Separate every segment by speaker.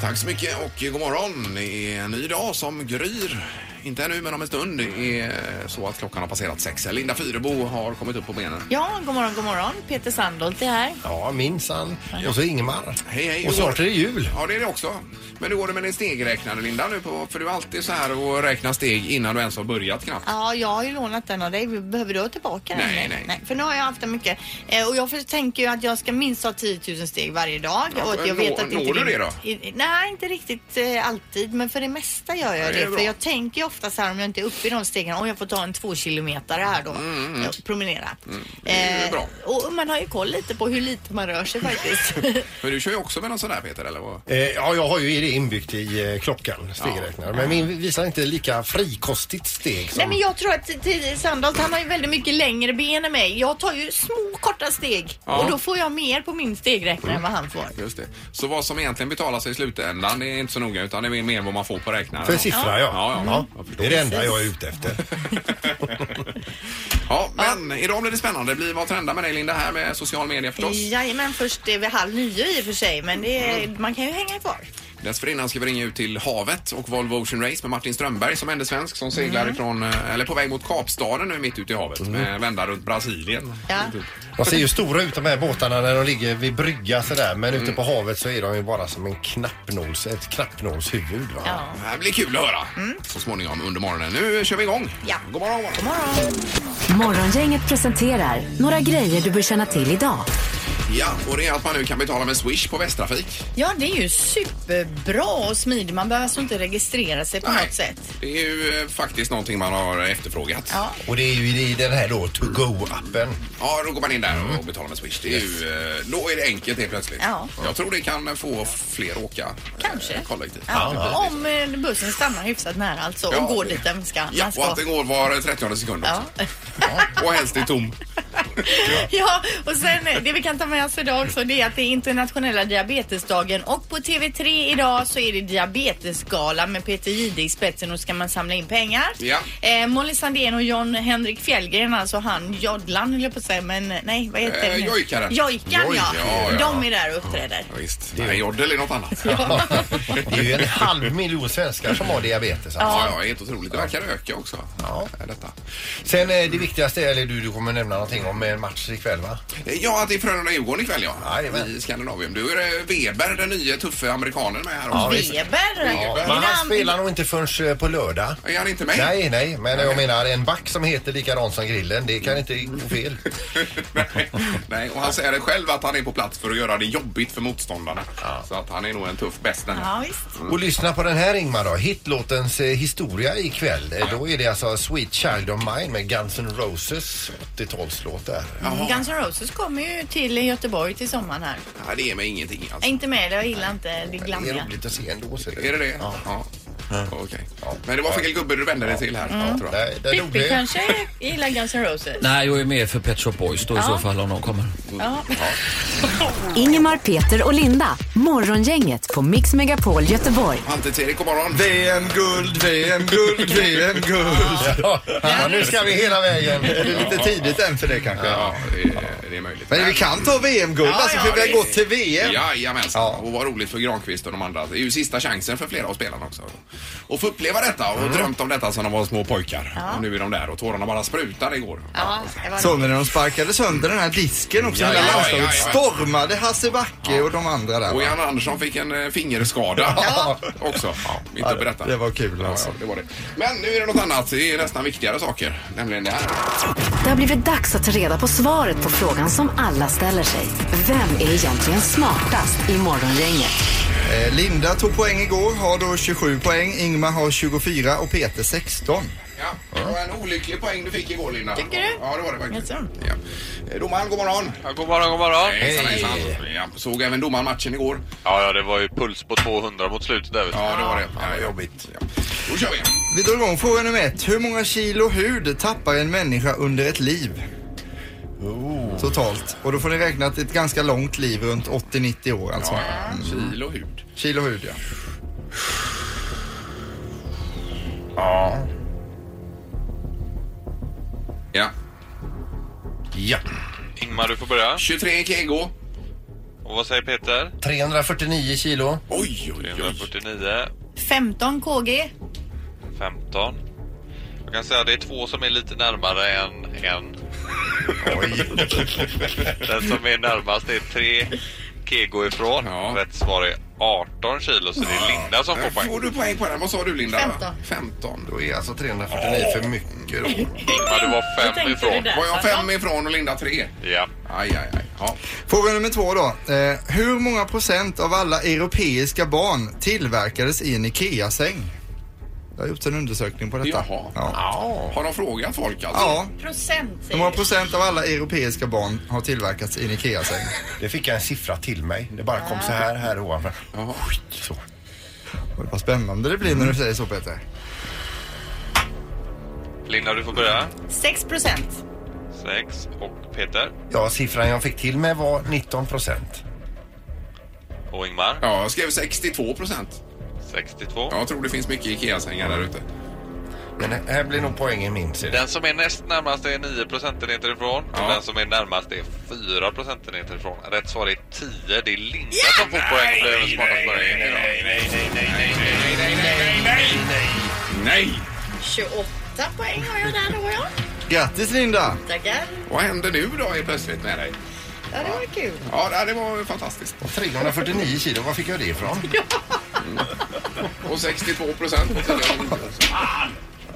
Speaker 1: Tack så mycket och god morgon. Det är en ny dag som gryr. Inte ännu, men om en stund. Det är så att klockan har passerat sex. Linda Fyrebo har kommit upp på benen.
Speaker 2: Ja, god morgon, god morgon. Peter Sandholt är här.
Speaker 3: Ja, minsann. Och så Ingmar.
Speaker 1: Hej, hej.
Speaker 3: Och snart är det jul.
Speaker 1: Ja, det är det också. Men hur går det med din stegräknare, Linda? Nu på, för du är alltid så här och räknar steg innan du ens har börjat knappt.
Speaker 2: Ja, jag har ju lånat den av dig. Behöver du ha tillbaka den?
Speaker 1: Nej, nej.
Speaker 2: För nu har jag haft den mycket. Eh, och jag för- tänker ju att jag ska minst ha 10 000 steg varje dag.
Speaker 1: Ja,
Speaker 2: och att jag
Speaker 1: nå-
Speaker 2: vet att
Speaker 1: når
Speaker 2: inte
Speaker 1: du det då?
Speaker 2: I- i- Nej, inte riktigt eh, alltid. Men för det mesta gör jag
Speaker 1: Ja, det
Speaker 2: det.
Speaker 1: är
Speaker 2: För
Speaker 1: bra.
Speaker 2: jag tänker ju ofta så här om jag inte är uppe i de stegen. Om jag får ta en två kilometer här då. Ja, promenera.
Speaker 1: Mm,
Speaker 2: Eh,
Speaker 1: det är ju bra.
Speaker 2: Och man har ju koll lite på hur lite man rör sig faktiskt.
Speaker 1: Men du kör ju också med någon sån där, Peter, eller? vad?
Speaker 3: Eh, ja, jag har ju det inbyggt i eh, klockan, stegräknaren. Men min visar inte lika frikostigt steg som...
Speaker 2: Nej men jag tror att T- Sandholt han har ju väldigt mycket längre ben än mig. Jag tar ju små korta steg
Speaker 1: Ja.
Speaker 2: och då får jag mer på min stegräknare än vad han får.
Speaker 1: Just det. Så vad som egentligen betalar sig i slutändan det är inte så noga utan det är mer vad man får på räknaren.
Speaker 3: För siffra, ja.
Speaker 1: Ja, ja. Mm. Jag förstår.
Speaker 3: det är det enda jag är ute efter.
Speaker 1: Ja, men idag blir det spännande. Det blir vad trendar med dig Linda här med social media förstås.
Speaker 2: Jajamän, först är vi halv nio i och för sig men det är,
Speaker 1: Mm.
Speaker 2: man kan ju hänga kvar.
Speaker 1: Dessförinnan ska vi ringa ut till havet och Volvo Ocean Race med Martin Strömberg som är svensk som seglar
Speaker 2: Mhm.
Speaker 1: ifrån, eh, eller på väg mot Kapstaden nu mitt ute i havet med vända runt Brasilien.
Speaker 2: Ja.
Speaker 3: De ser ju stora ut de här båtarna när de ligger vid brygga sådär. Men ute
Speaker 1: Mm.
Speaker 3: på havet så är de ju bara som en knappnåls, ett knappnålshuvud. Va?
Speaker 2: Ja.
Speaker 1: Det här blir kul att höra så småningom under morgonen. Nu kör vi igång.
Speaker 2: Mm. Ja.
Speaker 1: God morgon, god morgon.
Speaker 4: Morgongänget presenterar några grejer du bör känna till idag.
Speaker 1: Ja, och det är att man nu kan betala med Swish på Västtrafik.
Speaker 2: ja, det är ju superbra och smidigt. Man behöver alltså inte registrera sig på något sätt.
Speaker 1: Det är ju eh, faktiskt någonting man har efterfrågat.
Speaker 2: Ja.
Speaker 3: Och det är ju i den här då to go-appen.
Speaker 1: Ja, då går man in där och betalar med Swish. Det är ju, eh, då är det enkelt helt plötsligt.
Speaker 2: Mm. Ja.
Speaker 1: Jag tror det kan få fler åka eh,
Speaker 2: Kanske.
Speaker 1: kollektivt.
Speaker 2: Ja, Om eh, bussen stannar hyfsat nära alltså och
Speaker 1: Ja,
Speaker 2: går
Speaker 1: det-
Speaker 2: dit den ska.
Speaker 1: Ja,
Speaker 2: man ska.
Speaker 1: och att det går var 30 sekund också.
Speaker 2: Ja.
Speaker 1: Och helst i tom.
Speaker 2: Ja, och sen eh, det vi kan ta med oss idag också det är att det är internationella diabetesdagen och på TV3 idag så är det diabetesgala med Peter Jihde i spetsen och ska man samla in pengar.
Speaker 1: Ja.
Speaker 2: Eh, Molly Sandén och John Henrik Fjällgren, alltså han joddlan höll jag på att säga, men nej vad heter
Speaker 1: Eh,
Speaker 2: det nu?
Speaker 1: jojkaren.
Speaker 2: Jojkan
Speaker 1: Joj,
Speaker 2: ja.
Speaker 1: ja, ja.
Speaker 2: De är där och uppträder.
Speaker 1: Ja, visst. Nej, joddel är något annat. Ja,
Speaker 3: Det är ju en halv miljon svenskar som har diabetes. Alltså.
Speaker 1: ja, det är helt otroligt. Det verkar öka också.
Speaker 3: Ja.
Speaker 1: Detta.
Speaker 3: Sen eh, det viktigaste, eller du, du kommer nämna någonting om en match ikväll va?
Speaker 1: Ja, att det är Frölunda-Djurgården ikväll ja.
Speaker 3: Jajamän.
Speaker 1: I Skandinavien. Du är det Weber, den nya tuffe amerikanen med här också.
Speaker 2: Weber.
Speaker 1: Ja,
Speaker 2: Är
Speaker 3: Men
Speaker 2: det
Speaker 3: han spelar nog inte förrän eh, på lördag.
Speaker 1: Är han inte med?
Speaker 3: Nej, nej, men jag menar en back som heter likadant som grillen, det kan inte gå fel.
Speaker 1: Nej. Nej, och han säger det själv att han är på plats för att göra det jobbigt för motståndarna. Så att han är nog en tuff bäst den här.
Speaker 2: Ja, visst.
Speaker 3: Och lyssna på den här Ingmar då, hitlåtens eh, historia ikväll. Eh, Då är det alltså Sweet Child of Mine med Guns N' Roses 80-talslåt där.
Speaker 2: Guns N' Roses kommer ju till Göteborg till sommaren här.
Speaker 1: Nej, det är mig ingenting
Speaker 2: Jag är
Speaker 1: alltså.
Speaker 2: inte med, jag gillar inte det
Speaker 3: Det är
Speaker 2: glammiga.
Speaker 3: roligt att se ändå. Ser du.
Speaker 1: Är det det?
Speaker 3: Ja.
Speaker 1: Ja. Okej. Men det var fel gubbe du vände dig till här. Ja, tror jag.
Speaker 3: Där, där dog
Speaker 2: Pippi
Speaker 3: det.
Speaker 2: kanske gillar Guns N' Roses.
Speaker 5: Nej, jag är med för Pet Shop Boys då i så fall om de kommer.
Speaker 2: Ja.
Speaker 4: Ingemar, Peter och Linda. Morgongänget på Mix Megapol Göteborg.
Speaker 1: Ante-Erik, god morgon.
Speaker 6: VM-guld, VM-guld, VM-guld.
Speaker 3: Ja, nu ska vi hela vägen.
Speaker 6: Är det lite tidigt än för det kanske?
Speaker 1: Ja, det är, det är möjligt.
Speaker 6: Men vi kan ta VM-guld
Speaker 2: Ja,
Speaker 6: alltså
Speaker 2: ja,
Speaker 6: för vi
Speaker 1: det-
Speaker 6: har gått till VM.
Speaker 1: Jajamensan.
Speaker 6: Ja.
Speaker 1: Och vad roligt för Granqvist och de andra. Det är ju sista chansen för flera av spelarna också. Och få uppleva detta och drömt om detta sedan de var små pojkar. Och nu är de där och tårarna bara sprutar igår.
Speaker 2: Ja, det var
Speaker 6: Så när de sparkade sönder den här disken också,
Speaker 1: Ja,
Speaker 6: hela
Speaker 1: ja, ja,
Speaker 6: landslaget,
Speaker 1: ja, ja.
Speaker 6: stormade Hasse Backe och de andra där.
Speaker 1: Och
Speaker 6: va?
Speaker 1: Jan Andersson fick en eh, fingerskada
Speaker 6: Ja.
Speaker 1: också. Mitt uppe i detta.
Speaker 6: det var kul alltså.
Speaker 1: Ja, ja, det var det. Men nu är det något annat. Det är nästan viktigare saker. Nämligen det här.
Speaker 4: Det har blivit dags att ta reda på svaret på frågan som alla ställer sig. Vem är egentligen smartast i morgongänget?
Speaker 6: Eh, Linda tog poäng igår, har då 27 poäng, Ingmar har 24 och Peter 16.
Speaker 1: Ja, det var en olycklig poäng du fick igår Linda.
Speaker 2: Tycker du?
Speaker 1: Ja, det var det faktiskt.
Speaker 2: Jaså?
Speaker 1: Ja. Eh, Domaren, god morgon.
Speaker 7: Ja, god morgon, god morgon.
Speaker 1: Hejsan, hejsan. Ja, såg även domaren matchen igår.
Speaker 7: Ja, ja, det var ju puls på 200 mot slutet där. vet du.
Speaker 1: Ja, det var det. Ja, jobbigt. Ja. Då kör vi.
Speaker 6: Vi drar igång fråga nummer ett. Hur många kilo hud tappar en människa under ett liv?
Speaker 8: Oh.
Speaker 6: Totalt. Och då får ni räkna att det är ett ganska långt liv, runt 80-90 år alltså.
Speaker 1: Kilo hud.
Speaker 6: Kilo hud ja.
Speaker 1: Ja.
Speaker 3: Ja.
Speaker 7: Ingmar, du får börja.
Speaker 1: 23 kg.
Speaker 7: Okej, Och vad säger Peter?
Speaker 3: 349 kilo.
Speaker 1: Oj, oj, oj.
Speaker 7: 349,
Speaker 2: 15 kg.
Speaker 7: 15. Jag kan säga att det är två som är lite närmare än en. Den som är närmast är tre kego ifrån.
Speaker 1: Ja.
Speaker 7: Rätt svar är 18 kilo, så det är Linda som får
Speaker 1: Där får
Speaker 7: poäng.
Speaker 1: du poäng på den. Vad sa du Linda?
Speaker 2: 15.
Speaker 1: 15.
Speaker 3: Då är alltså 349 för mycket då.
Speaker 7: Ingmar, du var
Speaker 2: Då
Speaker 7: fem
Speaker 2: tänkte vi
Speaker 7: ifrån.
Speaker 2: där.
Speaker 1: Var jag fem ifrån och Linda tre?
Speaker 7: Ja.
Speaker 1: Aj, aj, aj. Ja.
Speaker 6: Fråga nummer två då. Eh, hur många procent av alla europeiska barn tillverkades i en IKEA-säng? Det har gjorts en undersökning på detta.
Speaker 1: Jaha.
Speaker 6: Ja.
Speaker 1: Har de frågat folk alltså?
Speaker 6: ja.
Speaker 2: Procent.
Speaker 6: Hur många procent av alla europeiska barn har tillverkats i en IKEA-säng?
Speaker 3: Det fick jag en siffra till mig. Det bara kom så här, här ovanför.
Speaker 1: Jaha.
Speaker 3: Så.
Speaker 6: Oj, Vad spännande det blir när du säger så Peter.
Speaker 7: Linda, du får börja.
Speaker 2: 6 procent.
Speaker 7: 6 och Peter
Speaker 3: Ja, siffran jag fick till mig var 19 procent.
Speaker 7: och Ingmar.
Speaker 1: Ja, jag skrev 62 procent.
Speaker 7: 62.
Speaker 1: Jag tror det finns mycket Ikea-sängar där ute.
Speaker 3: Men här blir nog poängen min. ser du.
Speaker 7: Den som är näst närmast är 9 procentenheter ifrån
Speaker 1: Ja.
Speaker 7: och den som är närmast är 4 procentenheter ifrån. Rätt svar är 10. Det är Linda som får poäng för den smartaste poängen idag.
Speaker 1: Nej, nej, nej, nej, nej, nej!
Speaker 2: 28 poäng har jag där då ja.
Speaker 6: Grattis Linda!
Speaker 2: Tackar.
Speaker 1: Vad händer nu då helt plötsligt med dig?
Speaker 2: Ja, det var kul.
Speaker 1: Ja, det var fantastiskt.
Speaker 3: 349 kilo, var fick jag det ifrån?
Speaker 1: Och 62 procent på tiden.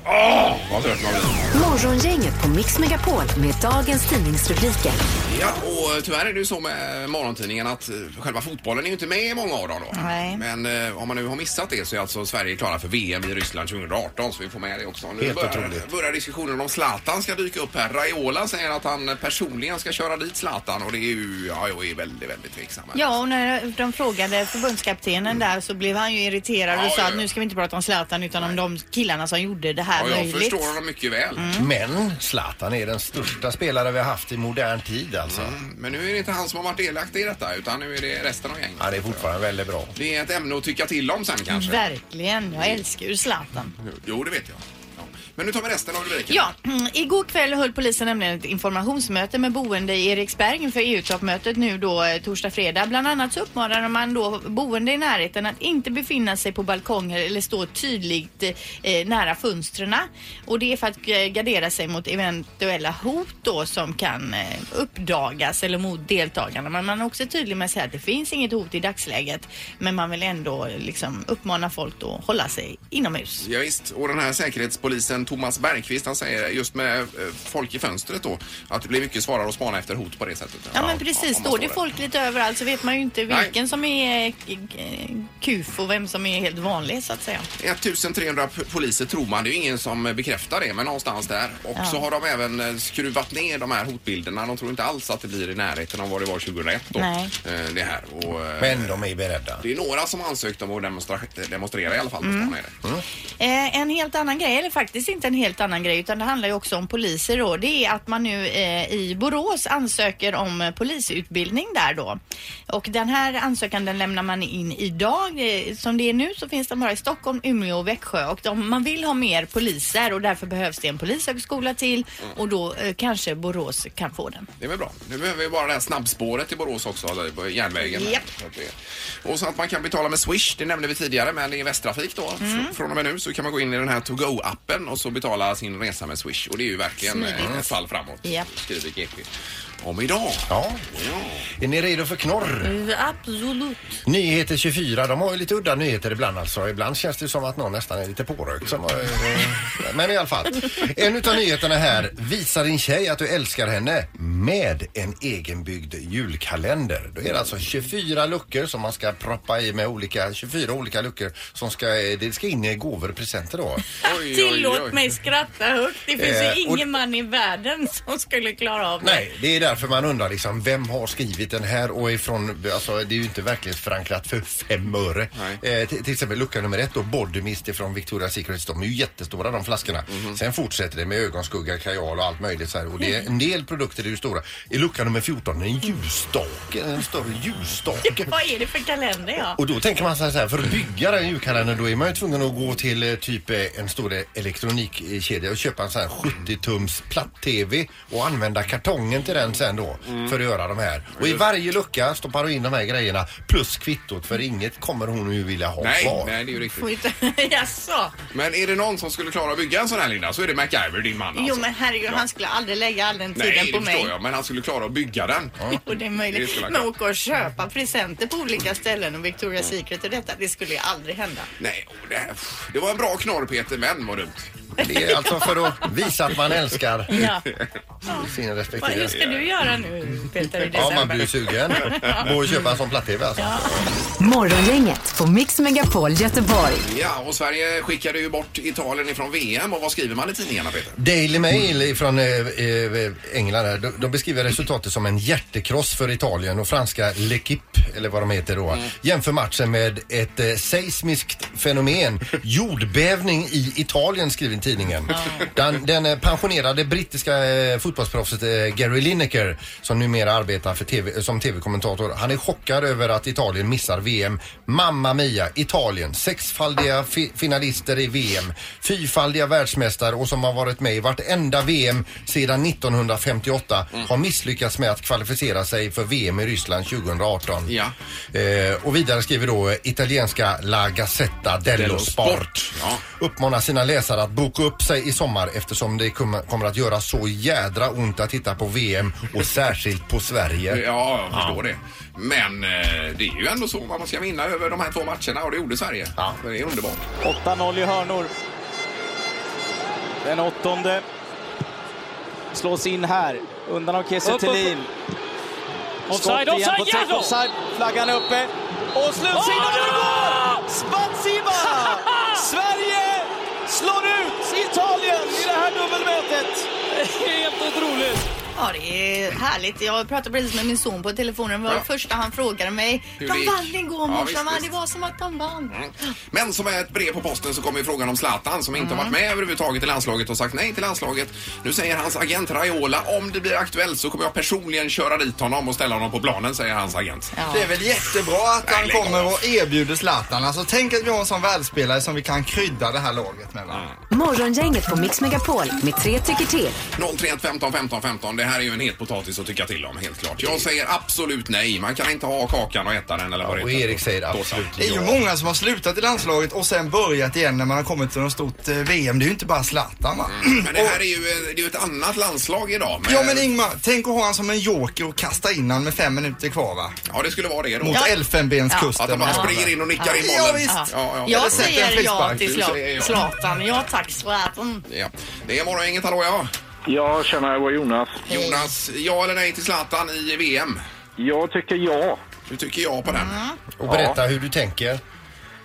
Speaker 1: Åh, vad trött man blir.
Speaker 4: Morgongänget på Mix Megapol med dagens tidningsrubriker.
Speaker 1: Ja, och tyvärr är det ju så med morgontidningen att eh, själva fotbollen är ju inte med i många av dem då.
Speaker 2: Nej.
Speaker 1: Men eh, om man nu har missat det så är alltså Sverige klara för VM i Ryssland 2018 så vi får med det också. Nu
Speaker 3: Helt
Speaker 1: börjar,
Speaker 3: otroligt.
Speaker 1: börjar diskussionen om Zlatan ska dyka upp här. Raiola säger att han personligen ska köra dit Zlatan och det är ju, ja, jag är väldigt, väldigt tveksam. här.
Speaker 2: Ja, och när de frågade förbundskaptenen där så blev han ju irriterad och
Speaker 1: Ja,
Speaker 2: sa
Speaker 1: ja,
Speaker 2: att
Speaker 1: ja.
Speaker 2: nu ska vi inte prata om Zlatan utan om de killarna som gjorde det här
Speaker 1: Ja, jag
Speaker 2: möjligt. Mm.
Speaker 1: förstår honom mycket väl.
Speaker 3: Men Zlatan är den största spelare vi har haft i modern tid alltså.
Speaker 1: Men nu är det inte han som har varit delaktig i detta utan nu är det resten av gänget.
Speaker 3: Han är fortfarande väldigt bra.
Speaker 1: Det är ett ämne att tycka till om sen kanske.
Speaker 2: Verkligen, jag älskar ju Zlatan.
Speaker 1: Jo, det vet jag. Ja. Men nu tar vi resten av rubriken.
Speaker 2: Ja, mm, igår kväll höll polisen nämligen ett informationsmöte med boende i Eriksberg inför EU-toppmötet nu då eh, torsdag, fredag. Bland annat så uppmanade man då boende i närheten att inte befinna sig på balkonger eller stå tydligt eh, nära fönstren. Och det är för att eh, gardera sig mot eventuella hot då som kan eh, uppdagas eller mot deltagarna. Men man är också tydlig med att säga att det finns inget hot i dagsläget. Men man vill ändå eh, liksom uppmana folk då att hålla sig inomhus.
Speaker 1: Ja, visst. och den här säkerhetspolisen Thomas Bergqvist han säger just med eh, folk i fönstret då att det blir mycket svårare att spana efter hot på det sättet.
Speaker 2: Ja, men
Speaker 1: om
Speaker 2: precis.
Speaker 1: man
Speaker 2: Står det
Speaker 1: där.
Speaker 2: folk lite överallt så vet man ju inte
Speaker 1: Nej.
Speaker 2: vilken som är eh, k- k- kuf och vem som är helt vanlig så att säga.
Speaker 1: 1300 p- poliser tror man, det är ju ingen som bekräftar det men någonstans där. Och
Speaker 2: Ja.
Speaker 1: så har de även eh, skruvat ner de här hotbilderna. De tror inte alls att det blir i närheten av vad det var 2001 då.
Speaker 2: Nej.
Speaker 1: eh, Det här. Och, eh,
Speaker 3: Men de är beredda.
Speaker 1: det är några som ansökt om att demonstra- demonstrera i alla fall. Mm. Mm.
Speaker 2: Eh, en helt annan grej, eller faktiskt inte en helt annan grej utan det handlar ju också om poliser då. Det är att man nu eh, i Borås ansöker om eh, polisutbildning där då. Och den här ansökan den lämnar man in idag. Eh, som det är nu så finns den bara i Stockholm, Umeå och Växjö och de, man vill ha mer poliser och därför behövs det en polishögskola till och då eh, kanske Borås kan få den.
Speaker 1: Det är väl bra. Nu behöver vi bara det här snabbspåret till Borås också, alltså på järnvägen.
Speaker 2: Japp.
Speaker 1: Så att det- Och så att man kan betala med Swish, det nämnde vi tidigare, men i Västtrafik då,
Speaker 2: Mm.
Speaker 1: fr- från och med nu så kan man gå in i den här To Go-appen och så betala sin resa med Swish. Och det är ju verkligen eh, ett fall framåt,
Speaker 2: Japp.
Speaker 1: skriver GP. Om idag.
Speaker 3: Ja. Är ni redo för knorr?
Speaker 2: Absolut.
Speaker 3: Nyheter 24, de har ju lite udda nyheter ibland alltså. Ibland känns det som att någon nästan är lite pårökt. Som, eh, men i alla fall. En utav nyheterna här. Visa din tjej att du älskar henne med en egenbyggd julkalender. Då är det alltså 24 luckor som man ska proppa i med olika, 24 olika luckor som ska, eh, det ska in i gåvor och presenter då.
Speaker 1: Oj,
Speaker 2: Tillåt mig skratta högt. Det finns
Speaker 3: Eh,
Speaker 2: ju
Speaker 3: och-
Speaker 2: ingen man i världen som skulle klara av det.
Speaker 3: Nej, det är därför man undrar liksom vem har skrivit den här och ifrån, alltså det är ju inte verklighetsförankrat för fem öre.
Speaker 1: Nej.
Speaker 3: Eh, till, till exempel lucka nummer ett då, Body Mist ifrån Victoria's Secret. De är ju jättestora de flaskorna. Sen fortsätter det med ögonskugga, kajal och allt möjligt så här. Och det är en del produkter är ju stora. I lucka nummer 14, en ljusstake, en större ljusstake.
Speaker 2: Vad är det för kalender ja?
Speaker 3: Och då tänker man så här, för att bygga den julkalendern då är man ju tvungen att gå till eh, typ eh, en stor eh, elektronikkedja och köpa en sån här 70-tums platt-tv och använda kartongen till den sen sen då
Speaker 1: Mm.
Speaker 3: för att göra de här. Och i varje lucka stoppar hon in de här grejerna plus kvittot för inget kommer hon ju vilja ha
Speaker 1: Nej,
Speaker 3: kvar.
Speaker 1: nej, det är ju
Speaker 2: Får
Speaker 1: riktigt.
Speaker 2: inte- Jaså?
Speaker 1: Men är det någon som skulle klara att bygga en sån här Linda så är det MacGyver, din man alltså.
Speaker 2: Jo men herregud,
Speaker 1: Ja.
Speaker 2: han skulle aldrig lägga all den tiden
Speaker 1: Nej,
Speaker 2: på
Speaker 1: det
Speaker 2: mig.
Speaker 1: förstår jag. Men han skulle klara att bygga den.
Speaker 2: Och det är
Speaker 1: Det
Speaker 2: möjligt.
Speaker 1: skulle jag
Speaker 2: Men
Speaker 1: kunna.
Speaker 2: åka och köpa presenter på olika ställen och Victoria's Secret och detta, det skulle ju aldrig hända.
Speaker 1: Nej, oh, det, här- det var en bra knorr Peter, men vad dumt.
Speaker 3: Det är alltså för att visa att man älskar
Speaker 2: Ja.
Speaker 3: sin
Speaker 2: Vad
Speaker 3: respektive.
Speaker 2: hur ska du göra nu Peter i
Speaker 3: Ja, man
Speaker 2: december?
Speaker 3: blir ju sugen på att köpa en sån platt-tv alltså.
Speaker 4: Morgongänget på Mix Megapol Göteborg.
Speaker 1: Ja, och Sverige skickade ju bort Italien ifrån VM och vad skriver man i tidningarna Peter?
Speaker 3: Daily Mail från eh, eh, England här, de, de beskriver resultatet som en hjärtekross för Italien och franska L'Equipe, eller vad de heter då, jämför matchen med ett eh, seismiskt fenomen, jordbävning i Italien, skriver tidningen. Den, den eh, pensionerade brittiska eh, fotbollsproffset eh, Gary Lineker, som numera arbetar för TV, som tv-kommentator, han är chockad över att Italien missar VM. Mamma mia, Italien, sexfaldiga fi- finalister i VM, fyrfaldiga världsmästare och som har varit med i vartenda VM sedan 1958
Speaker 1: Mm.
Speaker 3: har misslyckats med att kvalificera sig för VM i Ryssland 2018.
Speaker 1: Ja.
Speaker 3: Eh, och vidare skriver då eh, italienska La Gazzetta dello
Speaker 1: Dello
Speaker 3: Sport.
Speaker 1: Sport.
Speaker 3: Sport.
Speaker 1: Ja.
Speaker 3: Uppmanar sina läsare att boka upp sig i sommar eftersom det kommer kommer att göra så jädra ont att titta på VM och särskilt på Sverige.
Speaker 1: Ja, jag förstår det. Men eh, det är ju ändå så att man ska vinna över de här två matcherna och det gjorde Sverige.
Speaker 3: Ja.
Speaker 1: Det är underbart.
Speaker 8: 8-0 i hörnor. Den åttonde slås in här, undan av Kiese
Speaker 9: Upp, upp, upp.
Speaker 8: Thelin.
Speaker 9: Offside,
Speaker 8: Skott igen på
Speaker 9: offside,
Speaker 8: träff,
Speaker 9: Jarro!
Speaker 8: offside. Flaggan är uppe. Och slutsidan
Speaker 9: Åh,
Speaker 8: oh, går! Spatsiba! Sverige slår ut Italien i det här dubbelmötet.
Speaker 9: Helt otroligt!
Speaker 2: Ja, det är härligt. Jag pratade precis med min son på telefonen. Det var
Speaker 1: Ja.
Speaker 2: det första han frågade mig.
Speaker 1: Hur
Speaker 2: De
Speaker 1: det gick?
Speaker 2: vann igår
Speaker 1: Ja,
Speaker 2: morse.
Speaker 1: visst,
Speaker 2: va?
Speaker 1: visst.
Speaker 2: det var som att de vann.
Speaker 1: Mm. Men som är ett brev på posten så kommer ju frågan om Zlatan som inte har varit med överhuvudtaget i landslaget och sagt nej till landslaget. Nu säger hans agent Raiola om det blir aktuellt så kommer jag personligen köra dit honom och ställa honom på planen säger hans agent.
Speaker 6: Det är väl jättebra att han
Speaker 1: lägg av.
Speaker 6: kommer och erbjuder Zlatan. Alltså tänk att vi har en sån världsspelare som vi kan krydda det här laget med. Va?
Speaker 4: Morgongänget på Mix Megapol med tre tycker till.
Speaker 1: 031 15 15 15. Det här är ju en het potatis att tycka till om helt klart. Jag säger absolut nej. Man kan inte ha kakan och äta den eller vad det
Speaker 3: Och
Speaker 1: heter.
Speaker 3: Erik säger absolut
Speaker 6: Det är ju
Speaker 3: ja.
Speaker 6: många som har slutat i landslaget och sen börjat igen när man har kommit till något stort eh, VM. Det är ju inte bara Zlatan va?
Speaker 1: Men det här är ju, eh, det är ju ett annat landslag idag.
Speaker 6: Ja men Ingmar, tänk att ha han som en joker och kasta in han med fem minuter kvar va?
Speaker 1: ja, det skulle vara det då.
Speaker 6: Mot Elfenbenskusten.
Speaker 1: Att de bara
Speaker 6: va?
Speaker 1: springer in och nickar in
Speaker 6: Ja,
Speaker 1: bollen.
Speaker 6: visst.
Speaker 2: Jag
Speaker 1: det-
Speaker 6: sätter en
Speaker 2: säger ja
Speaker 6: frispark.
Speaker 2: till
Speaker 1: Du säger ja.
Speaker 2: Zla- Zlatan. Ja tack Zlatan.
Speaker 1: Ja. Det är morgon, inget hallå ja.
Speaker 10: Ja, tjena, jag var Jonas.
Speaker 1: Jonas, ja eller nej till Zlatan i VM?
Speaker 10: Jag tycker ja.
Speaker 1: Hur tycker jag på den?
Speaker 2: Mm.
Speaker 3: Och berätta hur du tänker.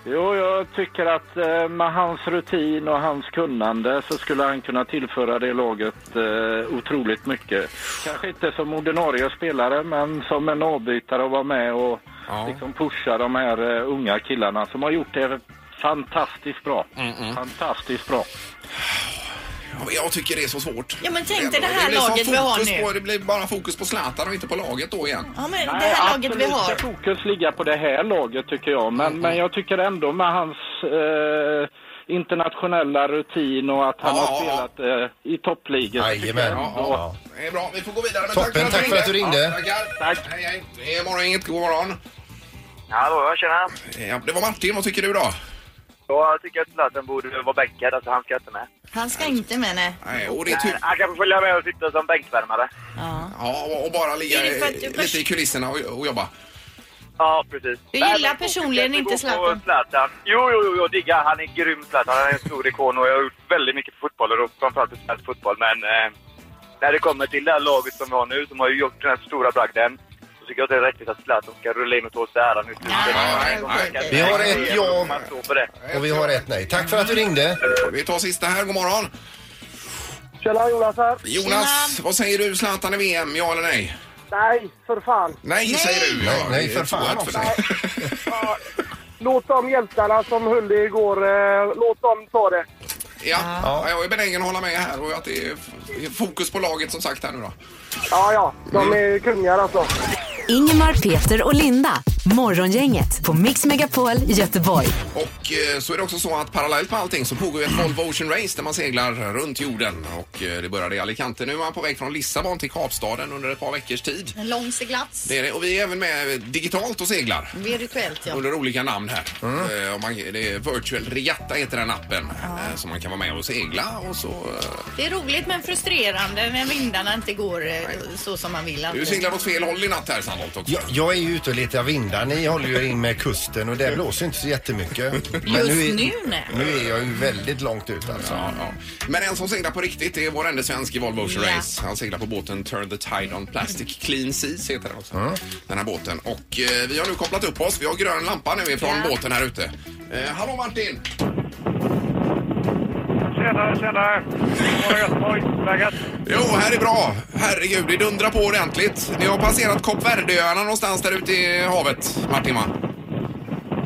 Speaker 10: Jo, jag tycker att eh, med hans rutin och hans kunnande så skulle han kunna tillföra det laget eh, otroligt mycket. Kanske inte som ordinarie spelare, men som en avbytare och vara med och liksom pusha de här eh, unga killarna som har gjort det fantastiskt bra. Fantastiskt bra.
Speaker 1: Ja, men Jag tycker det är så svårt.
Speaker 2: Ja, men tänk dig
Speaker 1: Ändå.
Speaker 2: det här
Speaker 1: blir sån
Speaker 2: laget vi har
Speaker 1: fokus
Speaker 2: nu.
Speaker 1: På, det blir bara fokus på Zlatan och inte på laget då igen.
Speaker 2: Ja, men det
Speaker 10: Nej,
Speaker 2: här laget vi
Speaker 10: absolut
Speaker 2: har. Mhm.
Speaker 10: ska fokus ligga på det här laget tycker jag. Men, men jag tycker ändå med hans eh, internationella rutin och att han
Speaker 1: Ja, ja,
Speaker 10: har
Speaker 1: ja.
Speaker 10: spelat eh, i toppligor. så tycker
Speaker 3: Jajamän.
Speaker 10: jag ändå-
Speaker 3: Ja.
Speaker 1: Det är bra, vi får gå vidare. Men
Speaker 3: Toppen, tack för att du ringde.
Speaker 1: Ja, tackar.
Speaker 10: Tack.
Speaker 1: Hej, hej. Det är morgon, inget god morgon.
Speaker 11: Hallå, tjena.
Speaker 1: Ja, det var Martin, vad tycker du då?
Speaker 11: Jag tycker att Zlatan borde vara bänkad, alltså han ska inte med.
Speaker 2: Han ska inte med nej.
Speaker 1: Nej, och det är tur.
Speaker 11: Han kan få följa med och sitta som bänkvärmare.
Speaker 1: Ja, och- och bara ligga
Speaker 2: Är det för att
Speaker 1: eh,
Speaker 2: du först-
Speaker 1: lite i kulisserna och, och jobba.
Speaker 11: Ja, precis.
Speaker 2: Du
Speaker 11: Nej, men
Speaker 2: gillar
Speaker 11: fokuset
Speaker 2: personligen
Speaker 11: går
Speaker 2: inte
Speaker 11: på
Speaker 2: Zlatan?
Speaker 11: Zlatan. Jo, jo, jo, jag diggar. Han är grym, Zlatan. Han är en stor ikon och jag har gjort väldigt mycket för fotboll och framförallt för svensk fotboll. Men eh, när det kommer till det här laget som vi har nu, som har ju gjort den här stora bragden, så tycker jag att det är rättvist att Zlatan ska rulla in och ta åt sig äran. i slutet.
Speaker 2: Nej,
Speaker 1: nej, nej.
Speaker 11: Kan-
Speaker 3: Vi har ett ja.
Speaker 11: Man står för det.
Speaker 3: Och vi har ett nej. Tack för att du ringde.
Speaker 1: Vi tar sista här, god morgon.
Speaker 9: Tjena, Jonas här.
Speaker 1: Jonas, vad säger du? Zlatan i VM, ja eller nej?
Speaker 9: Nej, för fan.
Speaker 1: Nej, säger du.
Speaker 3: Nej,
Speaker 1: Ja,
Speaker 3: nej,
Speaker 1: det är
Speaker 3: för fan
Speaker 1: tvåa för dig.
Speaker 9: Låt de hjältarna som höll det igår, eh, låt dem ta det.
Speaker 1: ja. ja, jag är benägen att hålla med här och att det är f- fokus på laget som sagt här nu då.
Speaker 9: Ja, ja, de är kungar alltså.
Speaker 4: Ingemar, Peter och Linda. Morgongänget på Mix Megapol Göteborg.
Speaker 1: Och eh, så är det också så att parallellt med allting så pågår ju ett Volvo Ocean Race där man seglar runt jorden. Och eh, det började i Alicante. Nu är man på väg från Lissabon till Kapstaden under ett par veckors tid.
Speaker 2: En lång seglats.
Speaker 1: Det är det. Och vi är även med digitalt och seglar.
Speaker 2: Virtuellt ja.
Speaker 1: Under olika namn här. Eh, och man, det är Virtual Regatta heter den appen. Eh, som man kan vara med och segla och så... Eh,
Speaker 2: Det är roligt men frustrerande när vindarna inte går eh, så som man vill.
Speaker 1: du
Speaker 2: alltid.
Speaker 1: seglar åt fel håll i natt här Sandholt också.
Speaker 3: Jag, jag är ju ute och letar vindar. Ni håller ju in med kusten och det blåser inte så jättemycket.
Speaker 2: Just
Speaker 3: är,
Speaker 2: nu, nej.
Speaker 3: Nu är jag ju väldigt långt ut alltså.
Speaker 1: Men en som seglar på riktigt är vår enda svensk i Volvo Ocean
Speaker 2: Ja.
Speaker 1: Race. Han seglar på båten Turn the Tide on Plastic Clean Seas heter den också. Den här båten. Och eh, vi har nu kopplat upp oss. Vi har grön lampa nu ifrån
Speaker 12: Ja.
Speaker 1: båten här ute. Eh, hallå Martin!
Speaker 12: Tjena, tjena! Var är Göteborg? Läget?
Speaker 1: Jo, här är bra. Herregud, det dundrar på ordentligt. Ni har passerat Kap Verdeöarna någonstans där ute i havet, Martin va?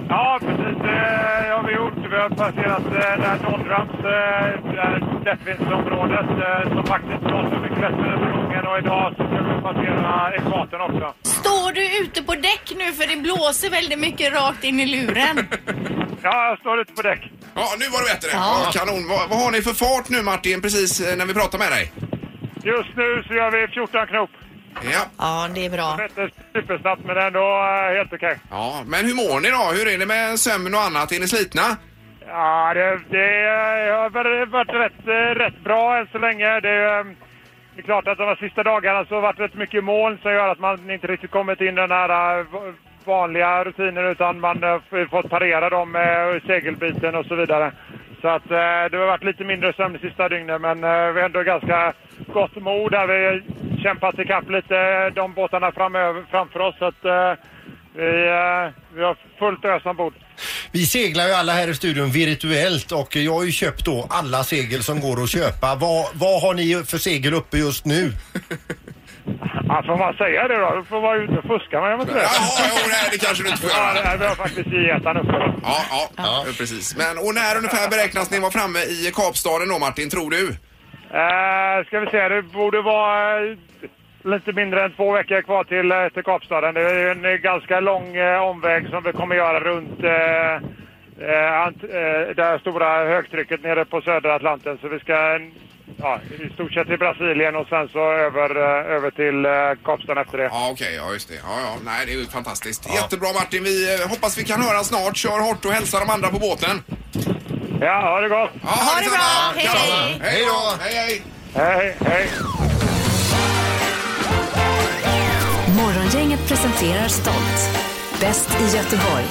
Speaker 12: Ja, precis. Det har vi gjort. Vi har passerat eh, det här Dollrams, eh, det här lättvindsområdet, eh, som faktiskt låter mycket bättre den här gången. Och idag så ska vi passera ekvatorn också.
Speaker 2: Står du ute på däck nu för det blåser väldigt mycket rakt in i luren?
Speaker 12: Ja, jag står ute på däck.
Speaker 1: Ja, nu var du bättre. Ja. kanon. Vad, vad har ni för fart nu Martin, precis eh, när vi pratar med dig?
Speaker 12: Just nu så gör vi 14 knop.
Speaker 1: Ja.
Speaker 2: Ja, det är bra.
Speaker 12: Det är inte supersnabbt, men ändå eh, helt okej.
Speaker 1: Ja, men hur mår ni då? Hur är det med sömn och annat? Är ni slitna?
Speaker 12: Ja, det, det har varit- varit rätt, eh, rätt bra än så länge. Det, eh, det är klart att de här sista dagarna så har det varit rätt mycket moln som gör att man inte riktigt kommit in i den här eh, v- vanliga rutinen utan man har f- fått parera dem med segelbiten och så vidare. Så att eh, det har varit lite mindre sömn de sista dygnen men eh, vi har ändå ganska gott mod där vi har kämpat ikapp lite eh, de båtarna framöver, framför oss. Så att eh, vi, eh, vi har fullt ös ombord.
Speaker 3: Vi seglar ju alla här i studion virtuellt och jag har ju köpt då alla segel som går att köpa. Vad, vad har ni för segel uppe just nu?
Speaker 12: Ja, får man säga det då? Du får vara ute och fuska med mig. Ja,
Speaker 1: jo, nej, det kanske du inte får
Speaker 12: göra. Ja, vi har faktiskt geten uppe.
Speaker 1: Ja, ja, precis. Men, och när ungefär beräknas ni vara framme i Kapstaden då Martin, tror du?
Speaker 12: Eh, ska vi se, det borde vara eh, lite mindre än två veckor kvar till, eh, till Kapstaden. Det är ju en eh, ganska lång eh, omväg som vi kommer göra runt eh, eh, ant- eh, det här stora högtrycket nere på södra Atlanten. Så vi ska eh, ja, i stort sett till Brasilien och sen så över, eh, över till eh, Kapstaden efter det.
Speaker 1: Ja, okej, ja just det. Ja, ja, nej, det är ju fantastiskt. Jättebra Martin, vi eh, hoppas vi kan höra snart. Kör hårt och hälsa de andra på båten.
Speaker 12: Ja, ha det gott!
Speaker 1: Ja, ha, det bra! Hej, hej! Hej då! Hej, hej!
Speaker 12: Hej, hej!
Speaker 4: Morgongänget presenterar stolt Bäst i Göteborg.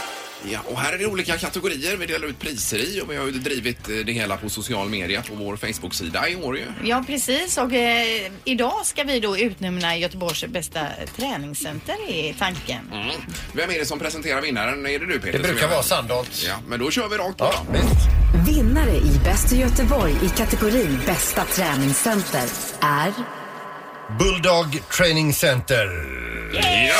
Speaker 1: Ja, och här är det olika kategorier vi delar ut priser i och vi har ju drivit eh, det hela på social media på vår Facebook-sida i år ju.
Speaker 2: Ja, precis. Och eh, idag ska vi då utnämna Göteborgs bästa träningscenter i tanken.
Speaker 1: Mm. Vem är det som presenterar vinnaren? Är det du Peter?
Speaker 3: Det brukar
Speaker 1: som gör
Speaker 3: vara Sandholt.
Speaker 1: Ja, men då kör vi rakt på då.
Speaker 4: Vinnare i Bäst i Göteborg i kategorin Bästa träningscenter är
Speaker 3: Bulldog Training Center.
Speaker 1: Ja!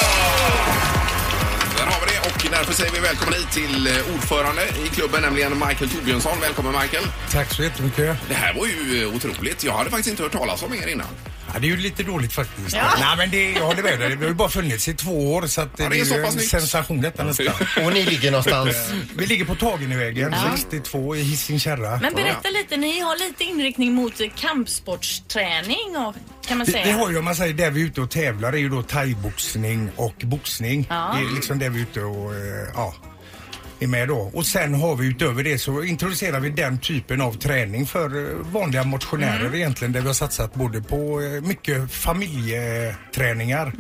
Speaker 1: Där har vi det och därför säger vi välkommen hit till eh, ordförande i klubben, nämligen Michael Torbjörnsson. Välkommen Michael!
Speaker 13: Tack så jättemycket.
Speaker 1: Det här var ju eh, otroligt. Jag hade faktiskt inte hört talas om er innan.
Speaker 13: Ja, det är ju lite roligt faktiskt.
Speaker 1: Ja.
Speaker 13: Nej, men det, jag håller med dig. Det har ju bara funnits i två år så att det,
Speaker 1: Ja, det är
Speaker 13: är,
Speaker 1: så
Speaker 13: ju
Speaker 1: pass
Speaker 13: en
Speaker 1: nytt.
Speaker 13: sensation detta nästan.
Speaker 3: Och ni ligger någonstans?
Speaker 13: Vi ligger på Tagenvägen 62 i Hisingen Kärra.
Speaker 2: Men berätta lite, ni har lite inriktning mot eh, kampsportsträning och, kan man
Speaker 13: Vi, vi
Speaker 2: säga.
Speaker 13: har ju om man säger där vi är ute och tävlar är ju då thaiboxning och boxning.
Speaker 2: Ja.
Speaker 13: Det är liksom där vi är ute och eh, ja, är med då. Och sen har vi utöver det så introducerar vi den typen av träning för eh, vanliga motionärer egentligen där vi har satsat både på eh, mycket familjeträningar.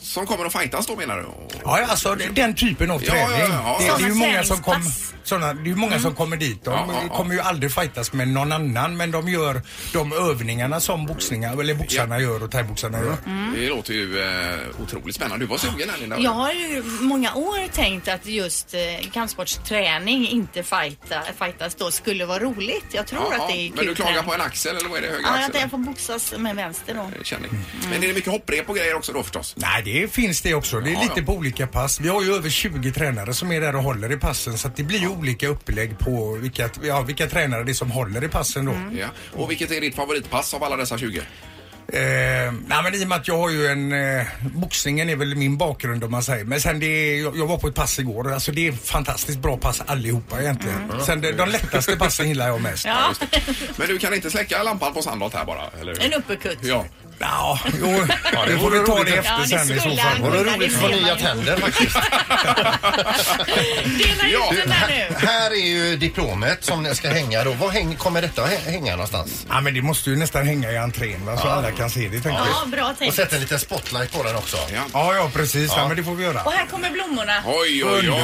Speaker 1: Som kommer att fightas då menar du? Och-
Speaker 13: Ja, ja, alltså det- den typen av
Speaker 1: Ja,
Speaker 13: träning.
Speaker 1: ja, ja.
Speaker 13: Det, det är ju
Speaker 1: Sådana
Speaker 13: många som, kom,
Speaker 1: träningspass.
Speaker 13: såna, det är ju många som kommer dit. De
Speaker 1: Ja, ja, ja.
Speaker 13: kommer ju aldrig fightas med någon annan men de gör de övningarna som boxningar, eller boxarna gör och thaiboxarna gör.
Speaker 1: Det låter ju eh, otroligt spännande. Du var sugen här Linda?
Speaker 2: Jag har ju många år tänkt att just eh, kampsportsträning, inte fighta, fightas då, skulle vara roligt. Jag tror
Speaker 1: Ja,
Speaker 2: att det
Speaker 1: ja,
Speaker 2: är kul.
Speaker 1: Men du klagar
Speaker 2: träning.
Speaker 1: på en axel eller vad är det? Höger
Speaker 2: Ja, jag
Speaker 1: axel?
Speaker 2: tänker få boxas med vänster då.
Speaker 1: Känning. Men är det mycket hopprep och grejer också då förstås?
Speaker 13: Nej, det finns det också. Det är
Speaker 1: Ja,
Speaker 13: lite
Speaker 1: ja.
Speaker 13: på olika pass. Vi har ju över 20 tränare som är där och håller i passen så att det blir ju olika upplägg på vilka,
Speaker 1: Mm.
Speaker 2: Mm.
Speaker 13: ja, vilka tränare det är som håller i passen då.
Speaker 1: Ja. Och vilket är ditt favoritpass av alla dessa 20?
Speaker 13: Eh, nej men i och med att jag har ju en, eh, boxningen är väl min bakgrund om man säger. Men sen det, jag, jag var på ett pass igår, alltså det är fantastiskt bra pass allihopa egentligen. Sen det, de lättaste passen gillar jag mest.
Speaker 2: Ja.
Speaker 1: Men du kan inte släcka lampan på Sandholt här bara, eller hur?
Speaker 2: En uppercut.
Speaker 1: Ja.
Speaker 13: Ja, jo,
Speaker 1: Ja,
Speaker 13: det får
Speaker 1: vore
Speaker 13: vi ta
Speaker 1: roligt.
Speaker 13: det efter
Speaker 2: Ja, det
Speaker 13: sen i så
Speaker 2: skulle
Speaker 13: fall.
Speaker 2: han Vore kunna, roligt det att få ser nya man ju.
Speaker 3: tänder
Speaker 13: faktiskt.
Speaker 2: Dela
Speaker 3: Du,
Speaker 2: ut den där nu.
Speaker 3: här, här är ju diplomet som ni ska hänga då. Var häng, kommer detta att hä- hänga någonstans?
Speaker 13: Ja men det måste ju nästan hänga i entrén va, så
Speaker 3: Ja.
Speaker 13: alla kan se det tänker
Speaker 2: Ja, bra
Speaker 3: Och
Speaker 2: tänkt.
Speaker 3: sätt en liten spotlight på den också.
Speaker 1: Ja,
Speaker 13: ja, precis. Ja.
Speaker 3: Ja.
Speaker 13: men det får vi göra.
Speaker 2: Och här kommer blommorna.
Speaker 1: Oj, oj, oj. oj.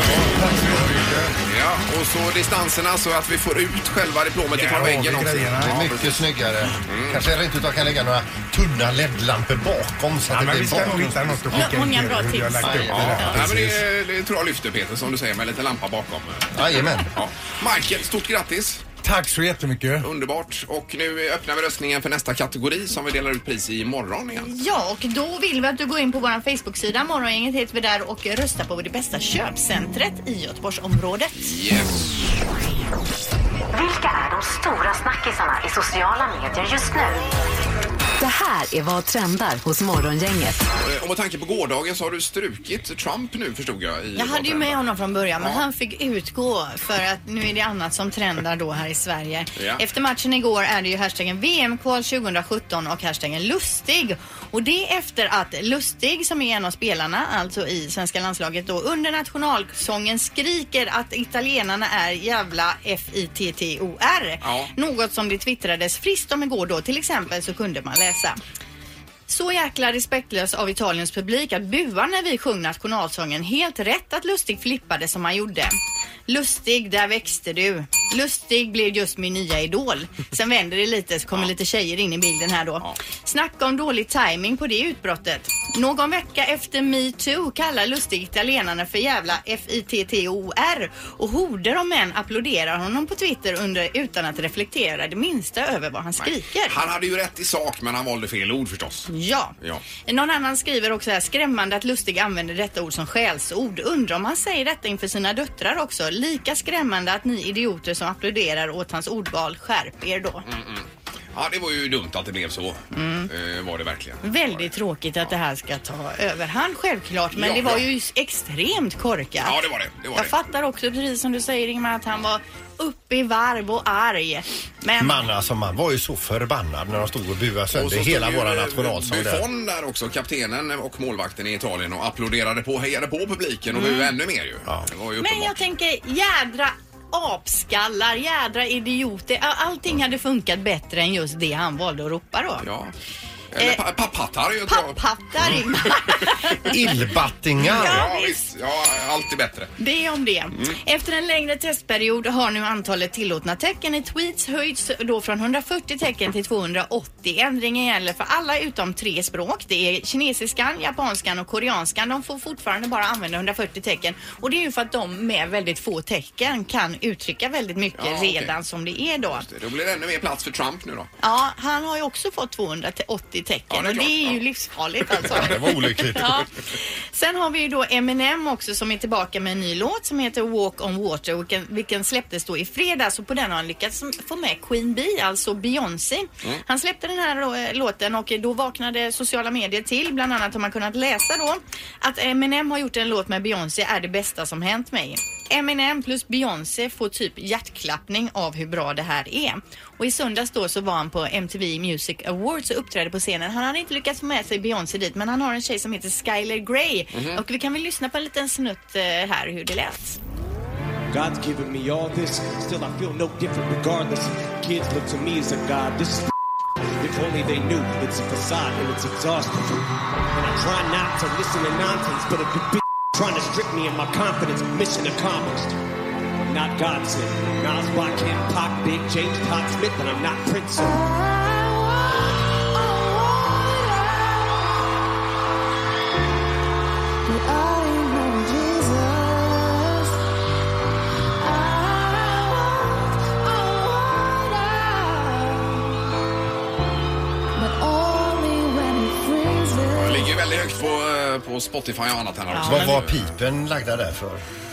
Speaker 1: Ja, och så distanserna så att vi får ut själva diplomet ifrån väggen också.
Speaker 3: Det är
Speaker 1: Ja,
Speaker 3: mycket snyggare. Kanske rent utav kan lägga några tunna LED-lampor bakom så att
Speaker 13: Ja,
Speaker 3: det
Speaker 13: men
Speaker 3: blir
Speaker 13: vi ska nog hitta något att skicka
Speaker 2: Många
Speaker 13: till
Speaker 2: bra
Speaker 13: er hur vi har
Speaker 2: tips.
Speaker 13: lagt upp det
Speaker 1: Ja,
Speaker 13: där.
Speaker 1: nej, men det, det tror jag lyfter Peter som du säger med lite lampa bakom.
Speaker 3: Jajamän.
Speaker 1: Ja. Michael, stort grattis!
Speaker 13: Tack så jättemycket.
Speaker 1: Underbart! Och nu öppnar vi röstningen för nästa kategori som vi delar ut pris i imorgon igen.
Speaker 2: Ja, och då vill vi att du går in på vår Facebook-sida. Morgongänget heter vi där och röstar på det bästa köpcentret i Göteborgsområdet.
Speaker 1: Yes!
Speaker 4: Vilka är de stora snackisarna i sociala medier just nu? Det här är vad trendar hos Morgongänget.
Speaker 1: Eh, Och med tanke på gårdagen så har du strukit Trump nu förstod jag. I
Speaker 2: Jag hade ju med honom från början men
Speaker 1: Ja.
Speaker 2: han fick utgå för att nu är det annat som trendar då här i Sverige.
Speaker 1: Ja.
Speaker 2: Efter matchen igår är det ju hashtaggen VM-kval 2017 och hashtaggen lustig. Och det efter att Lustig som är en av spelarna, alltså i svenska landslaget då, under nationalsången skriker att italienarna är jävla F-I-T-T-O-R.
Speaker 14: Ja.
Speaker 2: Något som det twittrades friskt om igår då till exempel så kunde man läsa. Så jäkla respektlös av Italiens publik att bua när vi sjöng nationalsången. Helt rätt att Lustig flippade som han gjorde. Lustig, där växte du. Lustig blev just min nya idol. Sen vänder det lite så kommer lite tjejer in i bilden här då. Snacka om dålig timing på det utbrottet. Någon vecka efter metoo kallar Lustig italienarna för jävla F-I-T-T-O-R och horder av män applåderar honom på Twitter under, utan att reflektera det minsta över vad han skriker.
Speaker 1: Han hade ju rätt i sak men han valde fel ord förstås.
Speaker 2: Ja.
Speaker 1: Ja.
Speaker 2: Någon annan skriver också här, skrämmande att Lustig använder detta ord som skällsord. Undrar om han säger detta inför sina döttrar också. Lika skrämmande att ni idioter som applåderar åt hans ordval, skärp er då.
Speaker 1: Mm. ja, det var ju dumt att det blev så.
Speaker 2: Mm.
Speaker 1: Eh, var det verkligen.
Speaker 2: Väldigt tråkigt att det här ska ta överhand självklart, men
Speaker 1: Ja,
Speaker 2: det var
Speaker 1: ja.
Speaker 2: ju s- extremt korkat.
Speaker 1: Ja, det var det. det, var
Speaker 2: Jag
Speaker 1: det.
Speaker 2: fattar också, precis som du säger Ingmar, att han var uppe i varv och arg. Men
Speaker 3: Man, alltså, man var ju så förbannad när de stod och buade sönder
Speaker 1: stod
Speaker 3: hela
Speaker 1: ju,
Speaker 3: våra
Speaker 1: eh,
Speaker 3: nationalsång där.
Speaker 1: Buffon där också, kaptenen och målvakten i Italien och applåderade på, hejade på publiken och
Speaker 2: Mm.
Speaker 1: buade ännu mer ju. Det var ju
Speaker 2: Men
Speaker 1: uppenbart.
Speaker 2: jag tänker jädra apskallar, jädra idioter. All- Allting hade funkat bättre än just det han valde att ropa då.
Speaker 1: Ja.
Speaker 2: Eh,
Speaker 1: Eller Mm. pa- papphattar är ju ett bra...
Speaker 2: Papphattar, Ingmar.
Speaker 3: Illbattingar!
Speaker 1: Ja, visst. Ja, allt är bättre.
Speaker 2: Det är om det.
Speaker 1: Mm.
Speaker 2: Efter en längre testperiod har nu antalet tillåtna tecken i tweets höjts då från 140 tecken till 280. Ändringen gäller för alla utom tre språk. Det är kinesiskan, japanskan och koreanskan. De får fortfarande bara använda 140 tecken och det är ju för att de med väldigt få tecken kan uttrycka väldigt mycket
Speaker 1: Ja, okej.
Speaker 2: redan som det är då.
Speaker 1: Då blir det ännu mer plats för Trump nu då.
Speaker 2: Ja, han har ju också fått 280 tecken och det är ju livsfarligt alltså.
Speaker 1: Det var olyckligt.
Speaker 2: Ja. Sen har vi ju då Eminem också som är tillbaka med en ny låt som heter Walk on Water vilken, vilken släpptes då i fredags och på den har han lyckats få med Queen Bee, alltså Beyoncé.
Speaker 14: Mm.
Speaker 2: Han släppte den här då, eh, låten och då vaknade sociala medier till. Bland annat har man kunnat läsa då att Eminem har gjort en låt med Beyoncé är det bästa som hänt mig. Eminem plus Beyoncé får typ hjärtklappning av hur bra det här är. Och i söndags då så var han på MTV Music Awards och uppträdde på scenen. Han hade inte lyckats få med sig Beyoncé dit men han har en tjej som heter Skylar Grey.
Speaker 14: Mhm.
Speaker 2: Och vi kan väl lyssna på en liten snutt eh, här hur det lät.
Speaker 15: God's given me all this, still I feel no different regardless. Kids look to me as a god. This is if only they knew it's a facade and it's exhausting. And I try not to listen to nonsense, but a bitch trying to strip me of my confidence. Mission accomplished. I'm not Godson, Nas, Rakim, Pop, Big James, Todd Smith, and I'm not Prince. So.
Speaker 1: Det ligger ju väldigt högt på, eh, på Spotify och annat här också. eh,
Speaker 3: Vad var pipen lagda där för?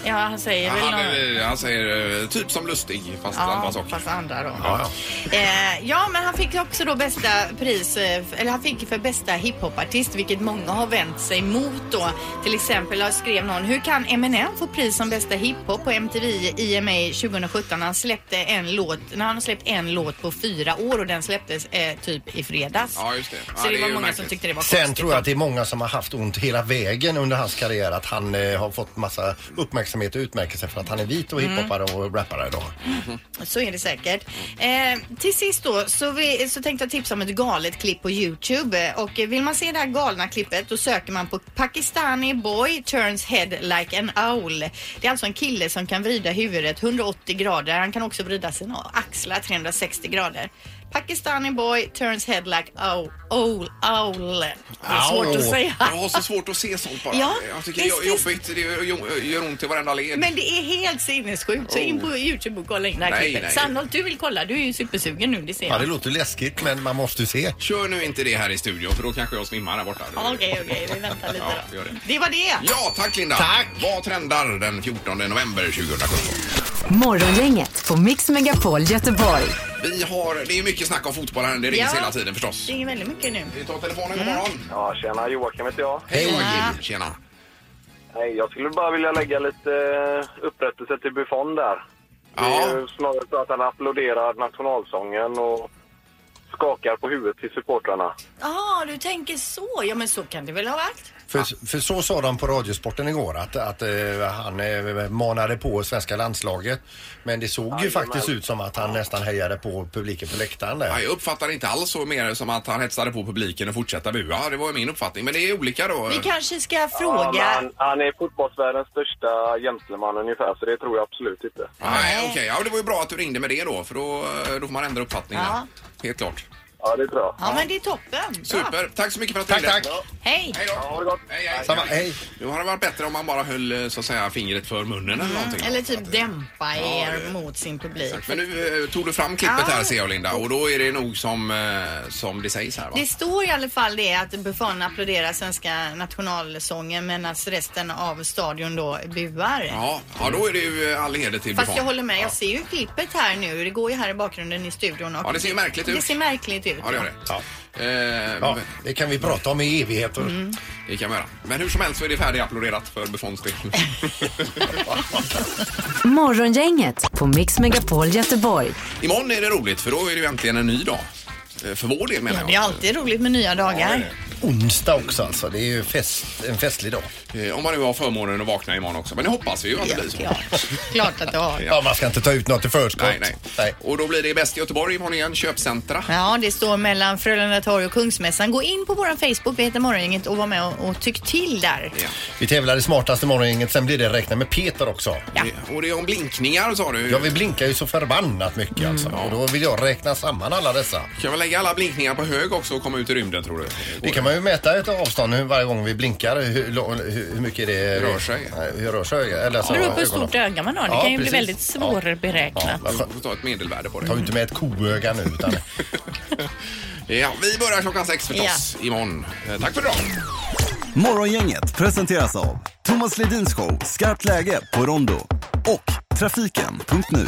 Speaker 2: Ja, han säger väl
Speaker 1: Han,
Speaker 2: något.
Speaker 1: är- han säger eh, typ som Lustig fast andra
Speaker 2: Ja,
Speaker 1: saker.
Speaker 2: fast andra då.
Speaker 1: Ja,
Speaker 2: Eh, ja, men han fick också då bästa pris, eh, f- eller han fick för bästa hiphopartist, vilket många har vänt sig mot då. Till exempel har skrev någon, hur kan Eminem få pris som bästa hiphop på MTV IMA 2017? Han släppte en låt, när han har släppt en låt på fyra år och den släpptes eh, typ i fredags.
Speaker 1: Ja, just det. Ja,
Speaker 2: Så det,
Speaker 1: det är
Speaker 2: var
Speaker 1: ju
Speaker 2: många som
Speaker 1: märkligt.
Speaker 2: tyckte det var
Speaker 3: Sen
Speaker 2: konstigt.
Speaker 3: tror jag att det är många som har haft ont hela vägen under hans karriär. Att han eh, har fått massa uppmärksamhet och utmärkelser för att han är vit och
Speaker 2: Mm.
Speaker 3: hiphopare och rappare idag.
Speaker 2: Så är det säkert. Eh, till sist då så, vi, så tänkte jag tipsa om ett galet klipp på Youtube. Eh, Och eh, vill man se det här galna klippet då söker man på Pakistani boy turns head like an owl. Det är alltså en kille som kan vrida huvudet 180 grader. Han kan också vrida sina axlar 360 grader. Pakistani boy turns head like owl. owl, owl. Det är svårt att säga.
Speaker 1: Jag har så svårt att se sånt bara.
Speaker 2: Ja,
Speaker 1: jag tycker det är jobbigt. Det gör- gör- gör ont i varenda led.
Speaker 2: Men det är helt sinnessjukt. Så in på Youtube och kolla in det här
Speaker 1: Nej,
Speaker 2: klippet.
Speaker 1: nej.
Speaker 2: Sannolikt du vill kolla. Du är ju supersugen nu, det ser jag.
Speaker 3: låter läskigt men man måste ju se.
Speaker 1: Kör nu inte det här i studion för då kanske jag svimmar här borta.
Speaker 2: Ja, Okej, okej, vi väntar lite
Speaker 1: Ja,
Speaker 2: då.
Speaker 1: gör det.
Speaker 2: Det var det.
Speaker 1: Ja, tack Linda. Tack. Vad trendar den 14 november 2017?
Speaker 4: Morgongänget på Mix Megapol Göteborg.
Speaker 1: Vi har, det är mycket snack om fotboll här. Det rings hela tiden förstås.
Speaker 2: Det är väldigt mycket nu.
Speaker 1: Vi tar telefonen,
Speaker 2: Mm.
Speaker 1: god morgon.
Speaker 11: Ja, tjena. Joakim heter jag.
Speaker 1: Hej Joakim. Tjena.
Speaker 11: Nej, jag skulle bara vilja lägga lite eh, upprättelse till Buffon där. Det är ju snarare så att han applåderar nationalsången och skakar på huvudet till supportrarna.
Speaker 2: Jaha, du tänker så. Ja, men så kan det väl ha varit?
Speaker 3: För, för så sa de på Radiosporten igår att, att eh, han eh, manade på svenska landslaget. Men det såg ju
Speaker 1: Jajamän.
Speaker 3: faktiskt ut som att han nästan hejade på publiken på läktaren där.
Speaker 1: Ja, jag uppfattar inte alls så mer som att han hetsade på publiken och fortsatte bua. Det var ju min uppfattning. Men det är olika då.
Speaker 2: Vi kanske ska
Speaker 11: Ja, men
Speaker 2: fråga...
Speaker 11: han, han är fotbollsvärldens största gentleman ungefär, så det tror jag absolut inte.
Speaker 1: Nej, okej. Ja, det var ju bra att du ringde med det då, för då, eh, då får man ändra uppfattning. där.
Speaker 2: Ja.
Speaker 1: Helt klart.
Speaker 11: Ja, det tror jag.
Speaker 2: Ja, men det är toppen. Bra.
Speaker 1: Super. Tack så mycket för att du
Speaker 2: Tack,
Speaker 1: ringde.
Speaker 2: tack. Hej.
Speaker 1: Hej då. Ha det gott. Hej, hej.
Speaker 3: Samma, hej.
Speaker 1: Nu har det varit bättre om man bara höll eh, så att säga, fingret för munnen eller någonting.
Speaker 2: Eller typ
Speaker 1: Ja,
Speaker 2: dämpa er
Speaker 1: det-
Speaker 2: mot sin publik.
Speaker 1: Men nu eh, tog du fram klippet
Speaker 2: Ja.
Speaker 1: här ser jag Linda och då är det nog som, eh, som det sägs här va?
Speaker 2: Det står i alla fall det att Buffon applåderar svenska nationalsången medan resten av stadion då buar.
Speaker 1: Ja, ja då är det ju eh, all heder till
Speaker 2: Fast
Speaker 1: Buffon.
Speaker 2: jag håller med, jag ser ju klippet här nu. Det går ju här i bakgrunden i studion. Och
Speaker 1: Ja, det ser ju märkligt ut.
Speaker 2: Det ser märkligt ut.
Speaker 1: Ja, det Eh, gör det.
Speaker 3: Ja.
Speaker 1: ja,
Speaker 3: det kan vi prata om i evigheter.
Speaker 1: Det kan vi göra. Men hur som helst så är det färdigapplåderat för Buffons del.
Speaker 4: Morgongänget på Mix Megapol Göteborg.
Speaker 1: Imorgon är det roligt för då är det ju äntligen en ny dag. Eh, För vår del menar
Speaker 2: Det är alltid roligt med nya dagar.
Speaker 3: Onsdag också alltså. Det är ju fest, en festlig dag.
Speaker 1: jag. Eh, Om man nu har förmånen att vakna imorgon också. Men det hoppas vi ju att det blir så.
Speaker 2: Klart att du har.
Speaker 3: Ja, man ska inte ta ut något i förskott.
Speaker 1: Nej, nej. Och då blir det bäst i Göteborg imorgon igen, köpcentra.
Speaker 2: Ja, det står mellan Frölunda torg och Kungsmässan. Gå in på vår Facebook, vi heter Morgongänget och var med och, och tyck till där.
Speaker 3: Vi tävlar i smartaste morgongänget, sen blir det räkna med Peter också.
Speaker 1: Och det är om blinkningar sa du?
Speaker 3: Ja, vi blinkar ju så förbannat mycket
Speaker 1: Mm.
Speaker 3: alltså. Och då vill jag räkna samman alla dessa.
Speaker 1: Kan man lägga alla blinkningar på hög också och komma ut i rymden tror du?
Speaker 3: Det kan man ju mäta ett avstånd hur, varje gång vi blinkar, hur, lo- hur hur mycket det
Speaker 1: Rör sig.
Speaker 3: Hur rör sig. Eller
Speaker 2: Det beror på hur stort öga man har. Det
Speaker 3: Ja,
Speaker 2: kan ju
Speaker 3: precis.
Speaker 2: bli väldigt svårberäknat.
Speaker 1: Du får ta ett medelvärde på det.
Speaker 3: Ta ju inte med ett koöga nu utan...
Speaker 1: Ja, vi börjar klockan sex förstås imorgon. Eh, Tack för idag!
Speaker 14: Morgongänget presenteras av Thomas Ledins show Skarpt läge på Rondo och Trafiken.nu.